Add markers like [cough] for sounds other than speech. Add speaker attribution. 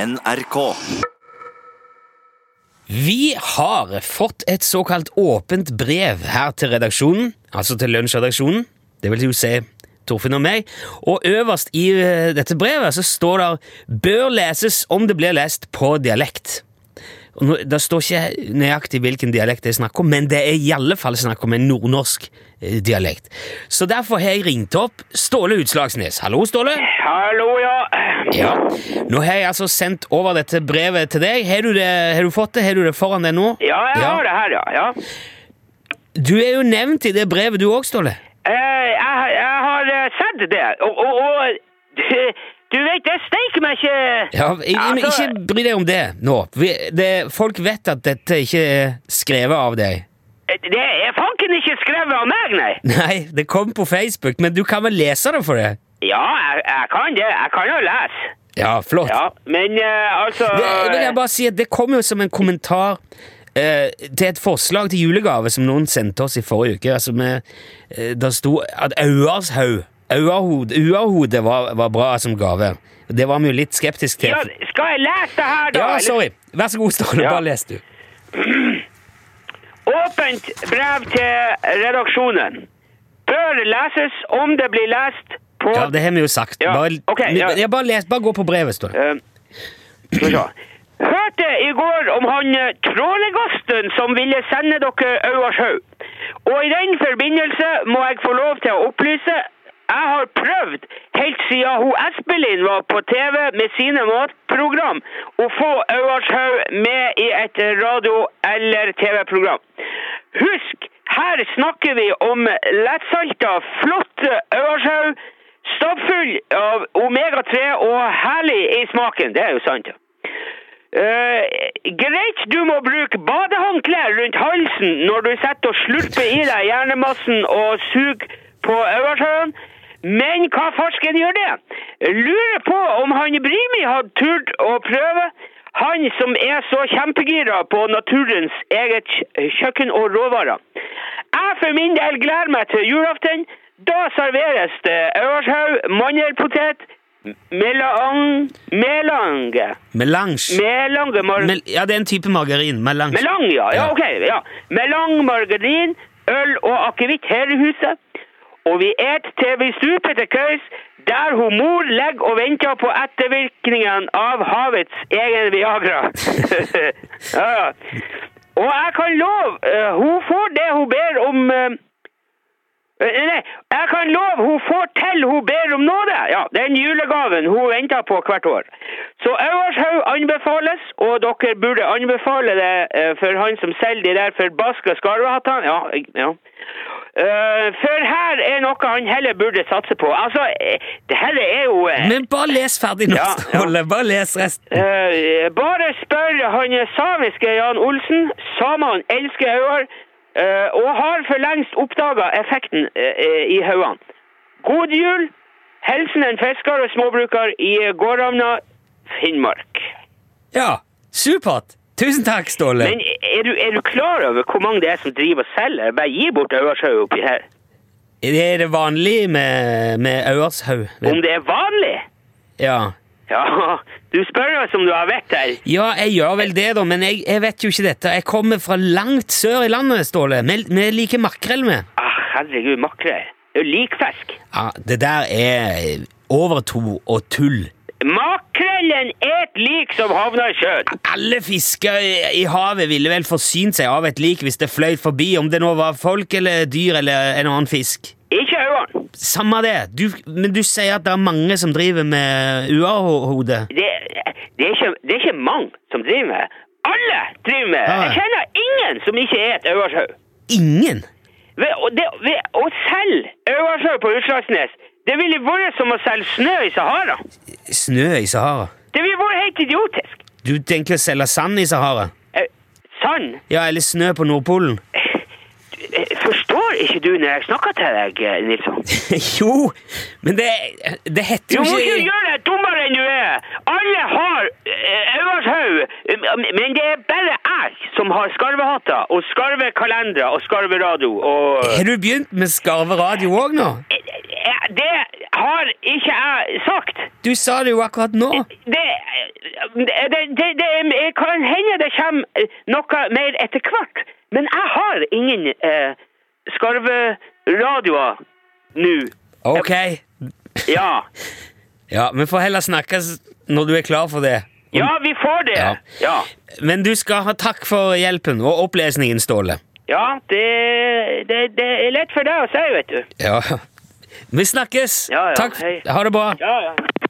Speaker 1: NRK.
Speaker 2: Vi har fått et såkalt åpent brev her til redaksjonen, altså til lunsjredaksjonen. Det vil jo si Torfinn og meg. Og øverst i eh, dette brevet så står det 'bør leses om det blir lest på dialekt'. Og nå- Det står ikke nøyaktig hvilken dialekt det er snakk om, men det er i alle fall snakk om en nordnorsk eh, dialekt. Så derfor har jeg ringt opp Ståle Utslagsnes. Hallo, Ståle.
Speaker 3: Hallo, ja.
Speaker 2: Ja. Nå har jeg altså sendt over dette brevet til deg. Har du, det, har du fått det? Har du det foran deg nå?
Speaker 3: Ja, jeg har det her, ja. ja.
Speaker 2: Du er jo nevnt i det brevet du òg, Ståle.
Speaker 3: Eh, jeg, jeg har eh, sett det, og, og, og du vet, det steiker meg ikke
Speaker 2: Ja, i- i- men
Speaker 3: Altså-
Speaker 2: ikke bry deg om det nå. Vi, det, folk vet at dette ikke er skrevet av deg. [laughs]
Speaker 3: Det er fanken ikke skrevet av meg, nei.
Speaker 2: Nei, det kom på Facebook, men du kan vel lese det for det?
Speaker 3: Ja, jeg, jeg kan det. Jeg kan jo lese.
Speaker 2: Ja, flott.
Speaker 3: Ja, men eh, altså
Speaker 2: Det, vil jeg bare si at det kom jo som en kommentar eh, til et forslag til julegave som noen sendte oss i forrige uke. Altså med, eh, der sto at Auershaug Uahode var, var bra som gave. Det var vi jo litt skeptiske til.
Speaker 3: ja, Skal jeg lese det her, da?
Speaker 2: Ja,
Speaker 3: eller?
Speaker 2: sorry. Vær så god, Ståle.
Speaker 3: Ja.
Speaker 2: Bare les, du.
Speaker 3: Åpent brev til redaksjonen. Bør leses om det blir lest på
Speaker 2: Ja, det har vi jo sagt.
Speaker 3: Ja,
Speaker 2: Bare,
Speaker 3: ok, ja.
Speaker 2: Ja, bare, les, bare gå på brevet, står det.
Speaker 3: Eh, Skal vi se. Hørte i går om han eh, trålegasten som ville sende dere Auershaug. Og i den forbindelse må jeg få lov til å opplyse jeg har prøvd helt siden hun Espelin var på TV med sine matprogram å få Auershaug med i et radio- eller TV-program. Husk, her snakker vi om lettsalta, flotte Auershaug Stappfull av omega-3 og herlig i smaken. Det er jo sant. ja. Eh, greit, du må bruke badehåndklær rundt halsen når du setter og slurper i deg hjernemassen og suger på Øversjøen. Men hva farsken gjør det? Lurer på om han Brimi hadde turt å prøve. Han som er så kjempegira på naturens eget kj- kjøkken og råvarer. Jeg for min del gleder meg til julaften. Da serveres det Øvershaug, mandelpotet, melang... melange.
Speaker 2: Melange.
Speaker 3: Melange mar...
Speaker 2: Mel ja, det er en type margarin. Melange.
Speaker 3: Melang, ja.
Speaker 2: Ja.
Speaker 3: ja, ok. Ja. Melang, margarin, øl og akevitt her i huset. Og vi et til vi stuper til køys, der hun mor legger og venter på ettervirkningene av havets egen Viagra. [laughs] ja, ja. Og jeg kan love, eh, hun får det hun ber om eh, eh, Nei, jeg kan love hun får til hun ber om nåde! Ja, Den julegaven hun venter på hvert år. Så Auershaug anbefales, og dere burde anbefale det eh, for han som selger de der forbaska skarvehattene. Ja, jeg- ja. Eh, for her er noe han heller burde satse på. Altså, eh, det her er jo eh,
Speaker 2: Men bare les ferdig nå,
Speaker 3: Ja, ja.
Speaker 2: Ståle. Bare les resten.
Speaker 3: Eh, bare spør han samiske Jan Olsen. Samene elsker hauger, eh, og har for lengst oppdaga effekten eh, i haugene. God jul! Hilsen en fisker og småbruker i Gårdhamna, Finnmark.
Speaker 2: Ja, supert. Tusen takk, Ståle.
Speaker 3: Men er du, er du klar over hvor mange det er som driver og selger? Bare gi bort Auershaug oppi her.
Speaker 2: Er det vanlig med, med Auershaug?
Speaker 3: Om det er vanlig?
Speaker 2: Ja.
Speaker 3: Ja, du spør oss om du har vett her.
Speaker 2: ja, jeg gjør vel det, da, men jeg, jeg vet jo ikke dette. Jeg kommer fra langt sør i landet, Ståle. Vi vi liker makrell, vi.
Speaker 3: Ah, herregud, makrell. Det er jo likfisk.
Speaker 2: Ja, det der er overtro og tull.
Speaker 3: Makrellen er et lik som havner i sjøen.
Speaker 2: Alle fisker i- i havet ville vel forsynt seg av et lik hvis det fløy forbi, om det nå var folk eller dyr eller en annen fisk.
Speaker 3: Ikke øynene.
Speaker 2: Samme det, du, men du sier at det er mange som driver med uahode.
Speaker 3: Det, det, er ikke, det er ikke mange som driver med det. Alle driver med det.
Speaker 2: Ja.
Speaker 3: Jeg kjenner ingen som ikke er et øyershaug.
Speaker 2: Ingen!
Speaker 3: Ved, å- det, ved å selge øyershaug på Utslagsnes, det ville vært som å selge snø i Sahara.
Speaker 2: Snø i Sahara.
Speaker 3: Det ville vært helt idiotisk.
Speaker 2: Du tenker å selge sand i Sahara?
Speaker 3: Eh, Sann,
Speaker 2: Ja, eller snø på Nordpolen? [laughs]
Speaker 3: eh, forstår ikke du når jeg snakker til deg, eh, Nilsson?
Speaker 2: jo, men det, det heter
Speaker 3: Du
Speaker 2: jo
Speaker 3: må ikke
Speaker 2: ikke
Speaker 3: gjøre deg dummere enn du er! Alle har eh, øyershaug, eh, men det er bare jeg som har skarvehatter og skarvekalendere og skarveradio og
Speaker 2: Har du begynt med skarveradio òg nå?
Speaker 3: Eh, Det har ikke jeg sagt.
Speaker 2: Du sa det jo akkurat nå.
Speaker 3: Det, det, det, det jeg kan hende det kommer eh, noe mer etter hvert, men jeg har ingen eh, skarveradioer nå.
Speaker 2: Ok.
Speaker 3: Ja.
Speaker 2: Ja, vi får heller snakkes når du er klar for det.
Speaker 3: ja, vi får det.
Speaker 2: Ja.
Speaker 3: Ja,
Speaker 2: Men du skal ha takk for hjelpen og opplesningen, Ståle.
Speaker 3: ja det, det, det er lett for deg å si, vet du.
Speaker 2: Ja. Vi snakkes.
Speaker 3: Ja, ja,
Speaker 2: Takk.
Speaker 3: hei.
Speaker 2: Ha det bra.
Speaker 3: Ja, ja.